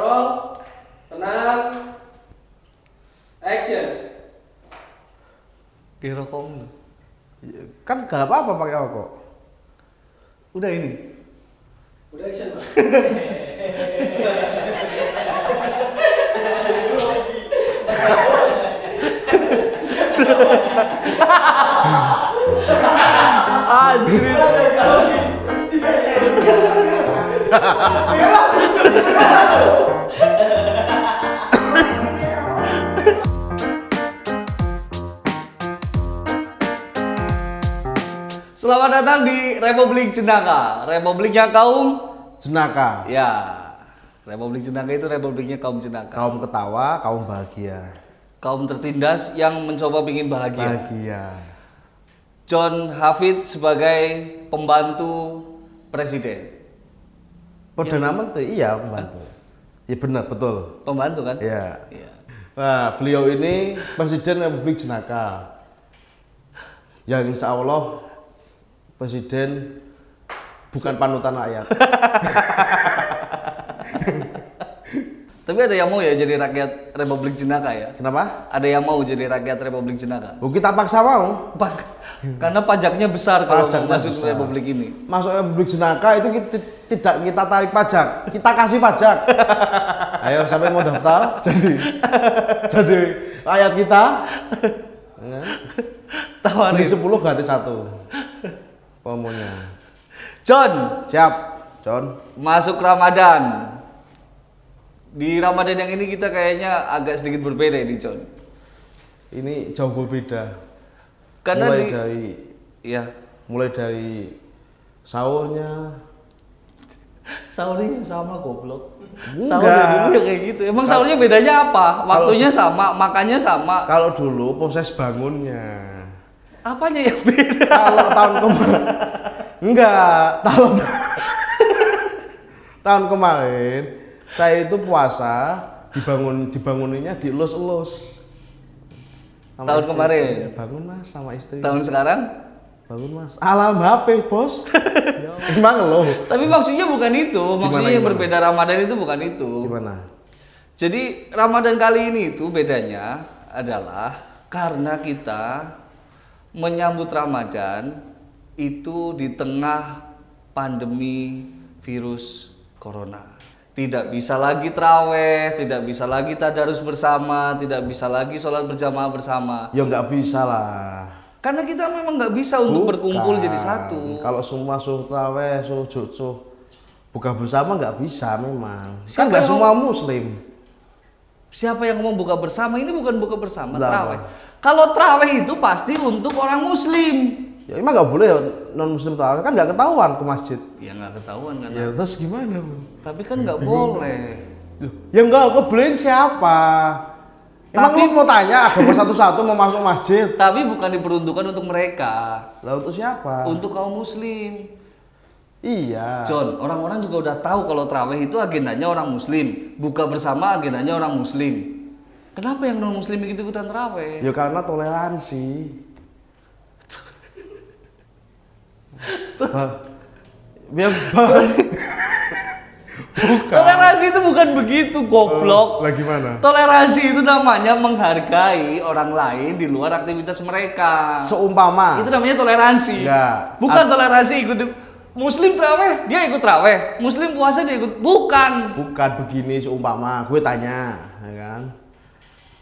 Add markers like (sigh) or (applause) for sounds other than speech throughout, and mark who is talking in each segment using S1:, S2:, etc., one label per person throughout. S1: Roll, tenang, action.
S2: Dirokok dulu.
S3: Kan gak apa-apa pakai rokok. Udah ini.
S1: Udah action pak.
S2: Anjir. (laughs) Selamat datang di Republik Jenaka, Republik yang kaum
S3: Jenaka.
S2: ya. Republik Jenaka itu republiknya kaum jenaka.
S3: Kaum ketawa, kaum bahagia.
S2: Kaum tertindas yang mencoba ingin bahagia.
S3: Bahagia.
S2: John Hafid sebagai pembantu presiden.
S3: Perdana Menteri, iya pembantu. Iya benar, betul.
S2: Pembantu kan?
S3: Iya.
S2: Iya.
S3: Nah, beliau ini Presiden Republik Jenaka. Yang insya Allah Presiden bukan panutan rakyat.
S2: Tapi ada yang mau ya jadi rakyat Republik Jenaka ya?
S3: Kenapa?
S2: Ada yang mau jadi rakyat Republik Jenaka?
S3: Oh, kita paksa mau.
S2: Pak, karena pajaknya besar kalau mau
S3: Pajaknya
S2: masuk
S3: besar.
S2: Republik ini.
S3: Masuk Republik Jenaka itu kita, tidak kita tarik pajak, kita kasih pajak. (laughs) Ayo sampai mau daftar, (laughs) jadi jadi rakyat kita. Ya. Beli
S2: Tawarin.
S3: 10 gratis satu. Pomonya.
S2: John,
S3: Siap, John.
S2: masuk Ramadan. Di Ramadan yang ini kita kayaknya agak sedikit berbeda ini John.
S3: Ini jauh berbeda.
S2: Karena
S3: mulai
S2: di,
S3: dari
S2: ya
S3: mulai dari sahurnya
S2: sahurnya sama goblok.
S3: Enggak.
S2: Sahurnya dulu ya kayak gitu. Emang sahurnya bedanya apa? Waktunya sama, makannya sama.
S3: kalau dulu proses bangunnya
S2: Apanya yang beda?
S3: kalau tahun kemarin enggak tahun tahun kemarin saya itu puasa dibangun dibanguninnya dielus-elus Sama
S2: Tahun
S3: istri. Iya,
S2: kemarin?
S3: bangun mas sama istri
S2: Tahun sekarang?
S3: bangun mas alam HP
S2: (laughs)
S3: bos Ya, emang lo
S2: Tapi maksudnya bukan itu. Maksudnya yang
S3: gimana?
S2: berbeda Ramadan itu bukan itu.
S3: gimana
S2: Jadi Ramadan kali ini itu bedanya adalah karena kita menyambut Ramadan itu di tengah pandemi virus corona. Tidak bisa lagi traweh, tidak bisa lagi tadarus bersama, tidak bisa lagi sholat berjamaah bersama.
S3: ya nggak bisa lah
S2: Karena kita memang nggak bisa untuk
S3: Bukan.
S2: berkumpul jadi satu.
S3: Kalau semua suruh traweh, suruh jujur, buka bersama nggak bisa memang.
S2: Siapa
S3: kan nggak
S2: yang
S3: semua muslim.
S2: Siapa yang mau buka bersama ini bukan buka bersama,
S3: Lah,
S2: traweh. Kalau traweh itu pasti untuk orang muslim.
S3: Ya emang nggak boleh non muslim traweh kan nggak ketahuan ke masjid.
S2: Ya nggak ketahuan kan.
S3: Ya terus gimana? Bu?
S2: Tapi kan nggak boleh.
S3: Loh, Ya nggak kebeliin siapa? Emang
S2: Tapi-
S3: lu mau tanya agama satu-satu mau masuk masjid?
S2: Tapi bukan diperuntukkan untuk mereka,
S3: Lah untuk siapa?
S2: untuk kaum muslim.
S3: iya.
S2: John, orang-orang juga udah tahu kalau traweh itu agendanya orang muslim, buka bersama agendanya orang muslim. Kenapa yang non muslim ikut ikutan traweh?
S3: Ya karena toleransi. Bah- Ya, bah- bukan. Oh,
S2: Toleransi itu bukan begitu, goblok.
S3: Lah gimana?
S2: Toleransi itu namanya menghargai orang lain di luar aktivitas mereka.
S3: Seumpama.
S2: Itu namanya toleransi.
S3: Ah. Enggak. Ah.
S2: Bukan toleransi ikut muslim traweh, dia ikut traweh. Muslim puasa dia ikut. Bukan.
S3: Bukan begini seumpama. Gue tanya, ya kan?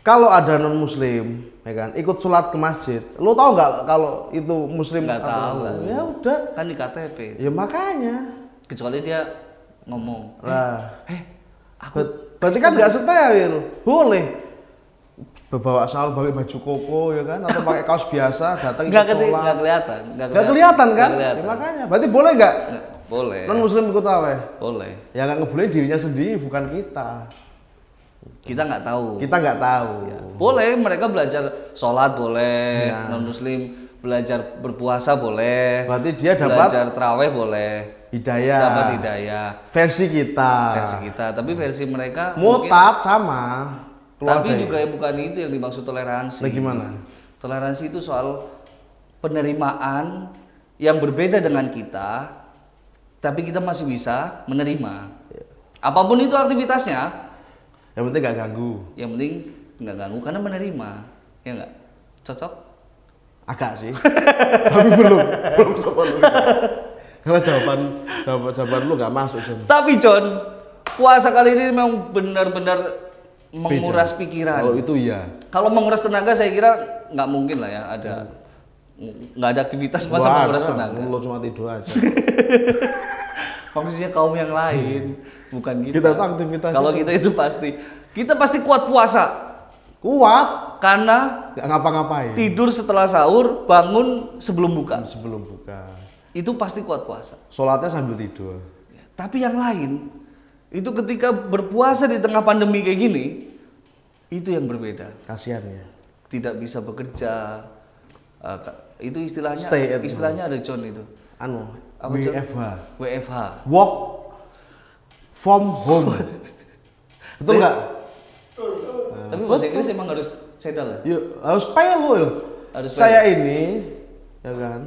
S3: Kalau ada non muslim, ya kan, ikut sholat ke masjid. Lo tau nggak kalau itu muslim?
S2: Nggak
S3: atau
S2: tahu.
S3: enggak? Ya udah.
S2: Kan di KTP.
S3: Ya makanya.
S2: kecuali dia ngomong
S3: Lah,
S2: eh aku ya?
S3: ber- berarti kan nggak steril. Boleh. Bawa sahur, pakai baju koko, ya kan? Atau pakai kaos biasa, datang
S2: nggak
S3: ikut
S2: keli- nggak
S3: sholat.
S2: kelihatan
S3: Nggak kelihatan kan?
S2: Nggak kelihatan.
S3: Ya, makanya. Berarti boleh nggak?
S2: Nggak- boleh
S3: Non muslim ikut taweh.
S2: boleh
S3: Ya nggak ngebolehin dirinya sendiri, bukan kita.
S2: kita nggak tahu
S3: Kita nggak tahu.
S2: Iya. boleh mereka belajar sholat boleh
S3: Ya.
S2: non muslim belajar berpuasa boleh
S3: Berarti dia dapat Iya.
S2: belajar teraweh boleh
S3: hidayah.
S2: dapat hidayah
S3: Versi kita.
S2: versi kita tapi versi mereka mungkin-
S3: Mutat sama. Keluar
S2: tapi
S3: dari-
S2: juga bukan itu yang dimaksud toleransi
S3: ya? Lah gimana?
S2: Toleransi itu soal penerimaan
S3: Iya.
S2: yang berbeda dengan kita, tapi kita masih bisa menerima. Apapun itu aktivitasnya,
S3: Yang penting gak ganggu.
S2: yang penting nggak ganggu karena menerima, ya nggak? Cocok?
S3: Agak sih. (laughs) Tapi belum, belum sopan lu. Karena jawaban jawaban, jawaban lu gak masuk Jon.
S2: Tapi John, puasa kali ini memang benar-benar menguras
S3: Beda.
S2: pikiran.
S3: ya? Kalau itu iya.
S2: Kalau menguras tenaga saya kira nggak mungkin lah ya ada
S3: Iya.
S2: nggak ada aktivitas masa
S3: Wah,
S2: menguras
S3: nah,
S2: tenaga.
S3: Lu cuma tidur aja.
S2: Fungsinya kaum yang lain, bukan kita.
S3: Kita tuh aktivitas
S2: Kalau
S3: itu.
S2: kita itu pasti kita pasti kuat puasa
S3: Kuat,
S2: karena
S3: gak ngapa-ngapain.
S2: tidur setelah sahur, bangun sebelum buka.
S3: Sebelum buka.
S2: Itu pasti kuat puasa.
S3: Sholatnya sambil tidur.
S2: Tapi yang lain itu ketika berpuasa di tengah pandemi kayak gini itu yang berbeda.
S3: Kasihan ya.
S2: Tidak bisa bekerja. eh, ka- itu istilahnya
S3: Stay at home.
S2: istilahnya ada John itu.
S3: Anu,
S2: Apa, Jon?
S3: WFH.
S2: WFH.
S3: Work from
S2: (laughs)
S3: home. Betul nggak?
S2: Tapi
S3: Eh,
S2: bahasa Inggris emang harus sedal ya?
S3: Yuk, harus pay lu loh.
S2: Harus pay.
S3: saya ini, ya kan,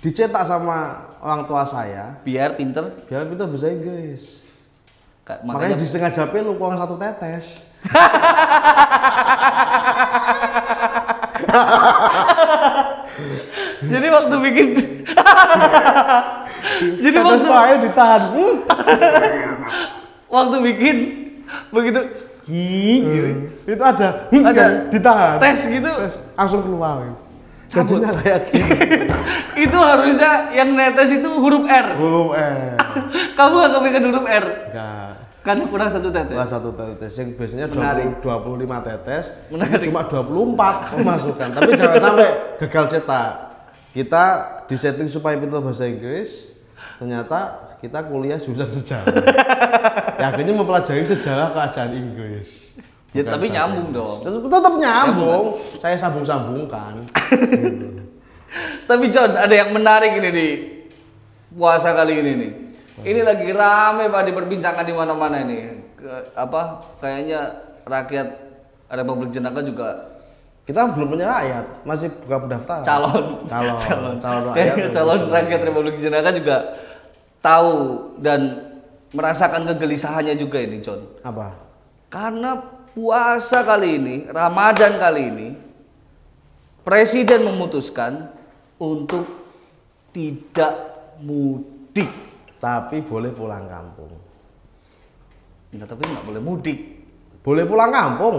S3: dicetak sama orang tua saya,
S2: Biar pinter.
S3: biar kita bisa Inggris.
S2: ka-
S3: Makanya,
S2: Makanya,
S3: disengaja pay lu kurang satu tetes.
S2: jadi waktu bikin Jadi
S3: Jadi tetes
S2: maksud-
S3: saya ditahan. Hmm.
S2: waktu bikin begitu
S3: Hmm. Itu ada, hmm,
S2: Ada.
S3: kan, ditahan.
S2: tes gitu
S3: Tes, langsung keluar.
S2: Cabut.
S3: Jadinya kayak gini.
S2: itu harusnya yang netes itu huruf R.
S3: Huruf R.
S2: Kamu nggak kepikiran huruf R
S3: eh. Enggak.
S2: karena kurang satu
S3: Salah
S2: tetes.
S3: satu tetes yang biasanya
S2: Menarik.
S3: 20, 25 tetes,
S2: Menarik.
S3: ini cuma 24 pemasukan. Tapi
S2: (laughs)
S3: jangan sampai gagal cetak. Kita disetting supaya pintar bahasa Inggris, ternyata kita kuliah jurusan sejarah. ya akhirnya mempelajari sejarah kerajaan Inggris.
S2: Ya,
S3: Bukan
S2: tapi
S3: bahasa
S2: nyambung kan?
S3: Inggris.
S2: dong.
S3: Tetap, tetap nyambung. Saya sambung-sambungkan. Gitu.
S2: Tapi John ada yang menarik ini di puasa kali ini nih. Ini lagi rame pak diperbincangkan di mana-mana ini. Ke- apa kayaknya rakyat Republik Jenaka juga
S3: Kita belum punya rakyat, masih buka pendaftaran.
S2: calon
S3: Ah, Calon.
S2: (laughs) calon
S3: Calon
S2: Kayaknya
S3: rakyat.
S2: (laughs) calon rakyat Republik Jenaka juga tahu dan merasakan kegelisahannya juga ini John
S3: Apa?
S2: karena puasa kali ini Ramadan kali ini presiden memutuskan untuk tidak mudik
S3: Tapi boleh pulang kampung.
S2: Nah, tapi nggak boleh mudik
S3: Boleh pulang kampung.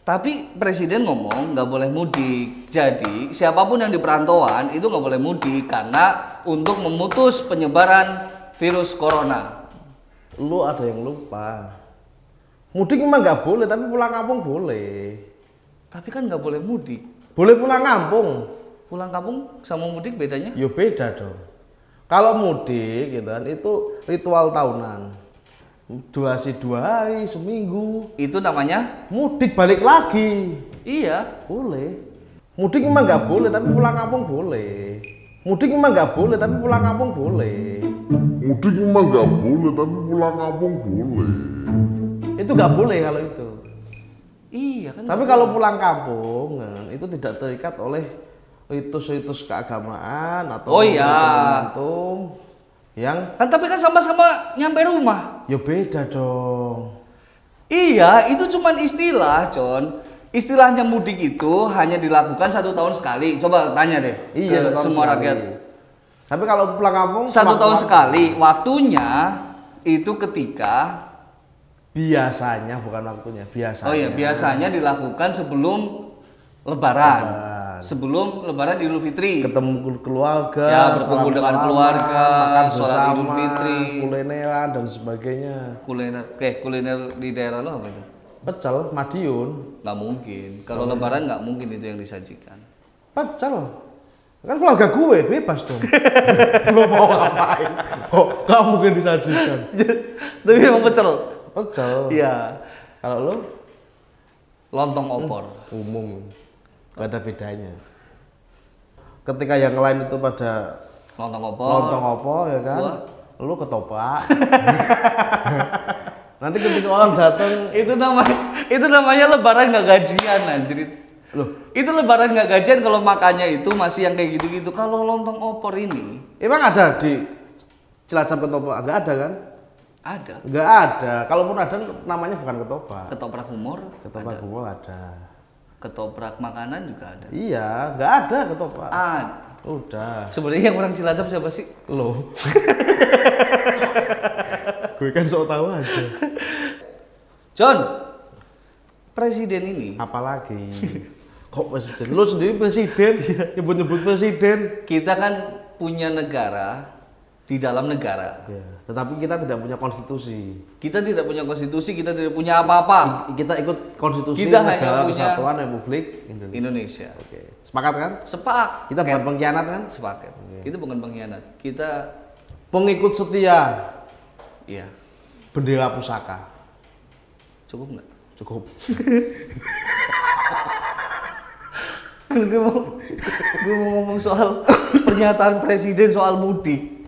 S2: tapi presiden ngomong nggak boleh mudik jadi siapapun yang di perantauan itu nggak boleh mudik karena untuk memutus penyebaran virus corona
S3: Lu ada yang lupa. Mudik memang nggak boleh, tapi pulang kampung boleh.
S2: Tapi kan nggak boleh mudik.
S3: Boleh pulang kampung.
S2: Pulang kampung sama mudik bedanya?
S3: Yo beda dong. Kalau mudik gitu kan itu ritual tahunan. Durasi dua hari, seminggu.
S2: Itu namanya?
S3: Mudik balik lagi.
S2: Iya.
S3: Boleh. Mudik memang nggak boleh, tapi pulang kampung boleh. Mudik memang nggak boleh, tapi pulang kampung boleh.
S4: Mudik memang nggak boleh, tapi pulang kampung boleh.
S3: Itu nggak boleh kalau itu.
S2: Iya kan?
S3: Tapi kalau pulang kampung kan, itu tidak terikat oleh ritus-ritus keagamaan atau
S2: Oh iya.
S3: momentum-momentum yang
S2: kan tapi kan sama-sama nyampe rumah.
S3: ya beda dong.
S2: Iya, itu cuman istilah, John. Istilahnya mudik itu hanya dilakukan satu tahun sekali. Coba tanya deh ke
S3: Iya, satu tahun
S2: semua
S3: sekali.
S2: rakyat.
S3: Tapi kalau pulang kampung
S2: Satu
S3: cuma
S2: tahun
S3: pulang-
S2: sekali. Waktunya itu ketika
S3: Biasanya bukan waktunya, biasanya.
S2: Oh iya, biasanya dilakukan sebelum Lebaran.
S3: Lebaran.
S2: Sebelum Lebaran Idul Fitri.
S3: ketemu keluarga,
S2: Ya, berkumpul dengan
S3: salam-salaman,
S2: keluarga,
S3: makan
S2: sholat
S3: bersama,
S2: Idul Fitri.
S3: kulineran dan sebagainya.
S2: kuliner eh kuliner di daerah lo apa itu
S3: Pecel, Madiun,
S2: nggak mungkin kalau lebaran nggak mungkin itu yang disajikan
S3: pecel. Kan keluarga gue bebas dong. (laughs) Lo mau ngapain? Kok gak mungkin disajikan.
S2: tapi emang pecel
S3: Pecel.
S2: iya
S3: Kalau lo
S2: lontong opor
S3: umum, gak ada bedanya. Ketika yang lain itu pada
S2: lontong opor
S3: lontong opo ya kan,
S2: Gua.
S3: lo ketoprak. (laughs) Nanti ketika orang datang,
S2: itu nama itu namanya lebaran nggak gajian anjir
S3: loh
S2: itu lebaran nggak gajian kalau makannya itu masih yang kayak gitu-gitu kalau lontong opor ini
S3: Emang ada di Cilacap Ketopo? Enggak ada kan?
S2: Ada.
S3: Enggak ada. Kalaupun ada namanya bukan ketoprak.
S2: Ketoprak humor,
S3: Ketoprak
S2: ada.
S3: gua ada.
S2: Ketoprak makanan juga ada.
S3: Iya, enggak ada ketoprak.
S2: Ada.
S3: Udah.
S2: Sebenarnya yang orang Cilacap siapa sih?
S3: Loh. gue kan sok tahu aja.
S2: John. Presiden ini
S3: (laughs) Apalagi kok presiden? Lu sendiri presiden, nyebut-nyebut presiden.
S2: kita kan punya negara di dalam negara.
S3: Ya, tetapi kita tidak punya konstitusi.
S2: Kita tidak punya konstitusi, kita tidak punya apa-apa
S3: I- Kita ikut konstitusi
S2: Kita hanya
S3: Negara
S2: punya-
S3: Kesatuan Republik Indonesia.
S2: Indonesia.
S3: Oke. Sepakat kan?
S2: Sepak.
S3: Kita bukan pengkhianat kan?
S2: sepaket. Itu bukan pengkhianat. Kita
S3: Pengikut setia
S2: iya,
S3: bendera pusaka.
S2: cukup nggak?
S3: Cukup.
S2: Kan gue mau gue mau ngomong soal pernyataan presiden soal mudik.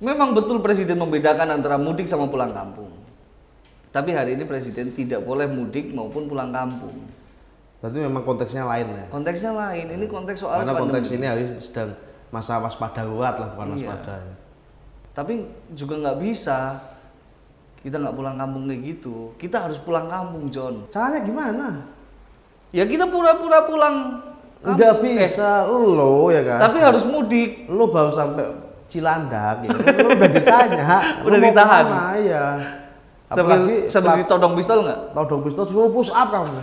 S2: Memang betul presiden membedakan antara mudik sama pulang kampung. Tapi hari ini presiden tidak boleh mudik maupun pulang kampung.
S3: Berarti memang konteksnya lain ya.
S2: Konteksnya lain. Ini konteks soal
S3: Karena
S2: pandemi.
S3: konteks ini habis sedang masa waspada ruat lah, bukan
S2: Iya.
S3: waspada. ya.
S2: Tapi juga nggak bisa kita nggak pulang kampung kayak gitu. Kita harus pulang kampung, John.
S3: Caranya gimana?
S2: Ya kita pura-pura pulang. kampung.
S3: Enggak
S2: Eh,
S3: bisa lo ya kan.
S2: tapi harus mudik.
S3: lo baru sampai Cilandak gitu. Lo udah
S2: (laughs)
S3: ditanya, lo
S2: Udah
S3: mau
S2: ditahan.
S3: kemana, Iya. Apalagi
S2: Sambil, sambil ditodong pistol nggak?
S3: tau dong pistol suruh push up kamu.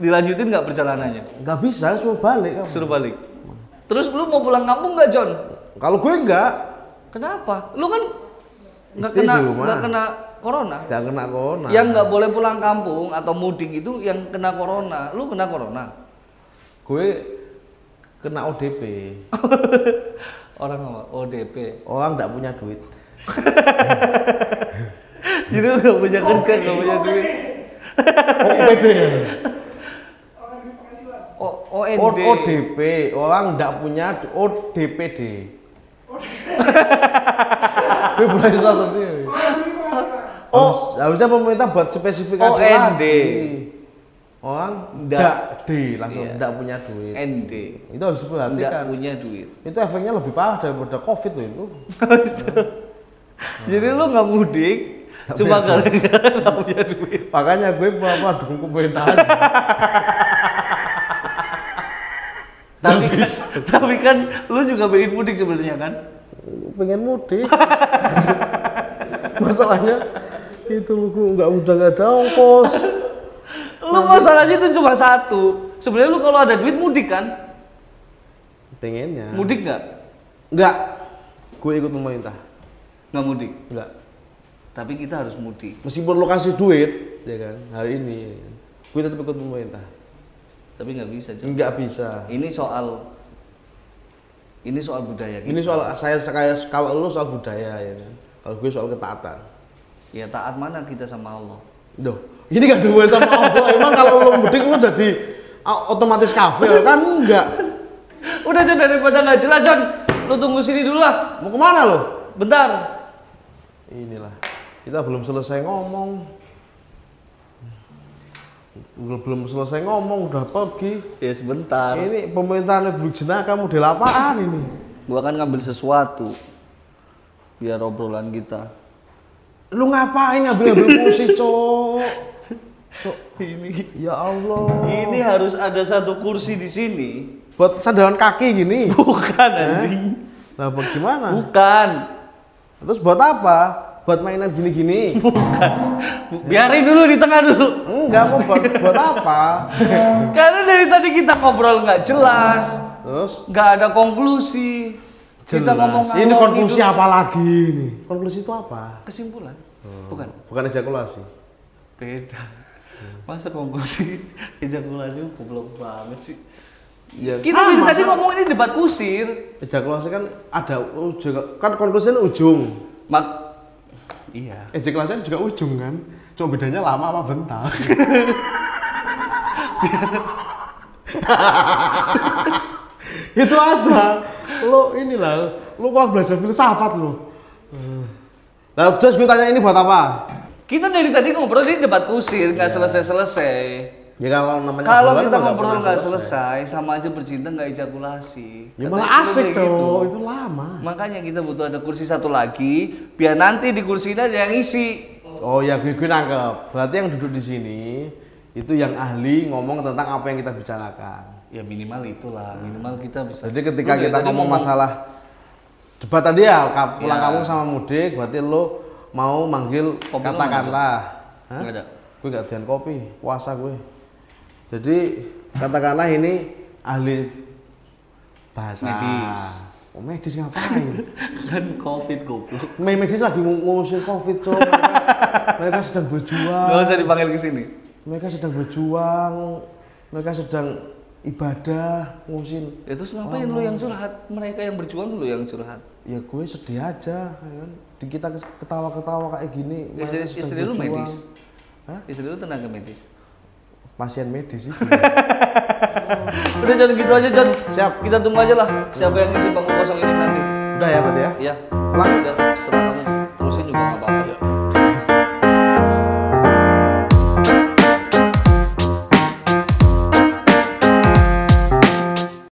S2: Dilanjutin nggak perjalanannya?
S3: Enggak bisa suruh balik kamu.
S2: Suruh balik. Terus lu mau pulang kampung nggak John?
S3: Kalau gue enggak,
S2: Kenapa? Lu kan nggak
S3: Istri
S2: kena
S3: di rumah.
S2: nggak kena corona.
S3: enggak kena corona.
S2: Yang nggak boleh pulang kampung atau mudik itu yang kena corona. Lu kena corona.
S3: gue kena ODP.
S2: Orang apa? ODP.
S3: Orang enggak punya duit.
S2: (laughs) Jadi lu nggak punya kerja, nggak punya duit.
S3: Oh,
S2: O
S3: OPD. O-
S2: OND.
S3: ODP, orang enggak punya du-
S2: (laughs)
S3: ODPD. Gue boleh salah sendiri.
S2: Oh.
S3: Oh, harusnya pemerintah buat spesifikasi
S2: OND.
S3: lagi. Orang
S2: Oh, Ndak.
S3: ndak D langsung
S2: Iya.
S3: ndak punya duit.
S2: ND.
S3: Itu harus
S2: Nggak
S3: diperhatikan.
S2: punya (laughs) duit. Oh,
S3: Itu efeknya lebih parah daripada Covid loh itu.
S2: Jadi lu nggak mudik cuma gara-gara nggak punya duit.
S3: Makanya gue mau apa dukung pemerintah aja.
S2: Tapi kan, tapi kan lu juga pengen mudik sebenarnya kan?
S3: Pengen mudik.
S2: (laughs)
S3: Masalahnya itu loh gue nggak udah nggak ada
S2: (laughs)
S3: ongkos.
S2: Lu masalahnya itu cuma satu. Sebenarnya lu kalau ada duit mudik kan?
S3: Pengennya.
S2: Mudik nggak?
S3: Nggak. Gue ikut pemerintah.
S2: Nggak mudik.
S3: Nggak.
S2: Tapi kita harus mudik.
S3: Meskipun lo kasih duit, ya kan hari ini, ya kan? gue tetap ikut pemerintah.
S2: Tapi nggak bisa. Cok.
S3: Nggak bisa.
S2: Ini soal ini soal budaya kita.
S3: Ini soal saya kayak kalau lu soal budaya ya kan. Kalau gue soal ketaatan.
S2: Ya taat mana kita sama Allah?
S3: Duh, ini gak ada hubungan sama Allah. Emang kalau lu mudik lu jadi a- otomatis kafir kan enggak.
S2: (gasps) Udah Jon, daripada nggak jelas Jon, lu tunggu sini dulu lah.
S3: Mau kemana lo?
S2: Bentar.
S3: Inilah. Kita belum selesai ngomong. Belum belum selesai ngomong udah pergi.
S2: Ya sebentar.
S3: Ini pemerintahan Republik Jenaka model apaan ini?
S2: Gua kan ngambil sesuatu biar obrolan kita.
S3: Lu ngapain ngambil-ngambil kursi, Cok? Cok,
S2: Ini
S3: ya Allah.
S2: ini harus ada satu kursi di sini.
S3: buat sandalan kaki gini.
S2: Bukan anjing.
S3: Nah, buat gimana?
S2: Bukan.
S3: Terus buat apa? Buat mainan gini-gini?
S2: Bukan. Bu- Biarin dulu di tengah dulu.
S3: Enggak mau buat, buat apa?
S2: Karena dari tadi kita ngobrol nggak jelas,
S3: Terus
S2: nggak ada konklusi. Kita
S3: jelas.
S2: ngomong gitu.
S3: ini
S2: ngalor
S3: konklusi
S2: ngidul.
S3: apa lagi ini? Konklusi itu apa?
S2: Kesimpulan.
S3: Oh.
S2: Bukan.
S3: Bukan ejakulasi.
S2: Beda. Masa konklusi (laughs) ejakulasi goblok banget sih.
S3: Ya,
S2: Kita
S3: sama,
S2: dari tadi
S3: kan.
S2: ngomong ini debat kusir.
S3: Ejakulasi kan ada ujung, kan konklusi ini ujung.
S2: Mak Iya.
S3: Ejakulasi ini juga ujung kan? Cuma bedanya lama apa bentar. (laughs) itu aja. Lo inilah, lo kurang belajar filsafat lo. Nah, terus gue tanya ini buat apa? Iya.
S2: Kita dari tadi ngobrol ini debat kusir, nggak selesai-selesai.
S3: Ya kalau namanya
S2: Kalau kita
S3: obrolan mah nggak
S2: ngobrol
S3: pernah
S2: nggak selesai, sama aja bercinta nggak ejakulasi.
S3: Ya
S2: Kata
S3: malah
S2: Ibnu
S3: asik
S2: kayak
S3: cowok,
S2: gitu.
S3: itu lama.
S2: Makanya kita butuh ada kursi satu lagi, biar nanti di kursi ini ada yang isi.
S3: Oh ya gue, gue nangkep. Berarti yang duduk di sini itu yang ahli ngomong tentang apa yang kita bicarakan.
S2: Ya minimal itulah, minimal kita bisa.
S3: Jadi ketika
S2: Lu dari
S3: kita
S2: tadi
S3: ngomong masalah debat tadi ya ka- pulang
S2: Ya.
S3: kampung sama mudik, berarti lo mau manggil
S2: Kopi lo
S3: katakanlah. Hah?
S2: Nggak ada.
S3: Gue nggak doyan kopi, puasa gue. Jadi katakanlah ini ahli bahasa
S2: Medis.
S3: Oh, medis ngapain?
S2: kan covid goblung.
S3: Med- medis lagi ngu- ngurusin covid cok. Mereka, mereka sedang berjuang.
S2: Nggak usah dipanggil ke sini.
S3: mereka sedang berjuang, mereka sedang ibadah, ngurusin.
S2: Ya terus ngapain lu yang curhat? Mereka yang berjuang lu yang curhat.
S3: Ya gue sedih aja, ya kan? Di kita ketawa-ketawa kayak gini. mereka
S2: Istri,
S3: sedang
S2: istri lu
S3: berjuang.
S2: medis.
S3: Hah?
S2: Istri Ya, lu tenaga medis.
S3: Pasien medis sih. (laughs)
S2: Udah jangan gitu aja, John.
S3: Siap.
S2: Kita tunggu aja lah siapa yang ngisi panggung kosong ini nanti.
S3: Udah ya, Pak ya.
S2: Ya,
S3: Pelan.
S2: udah serang kamu terusin juga nggak apa-apa.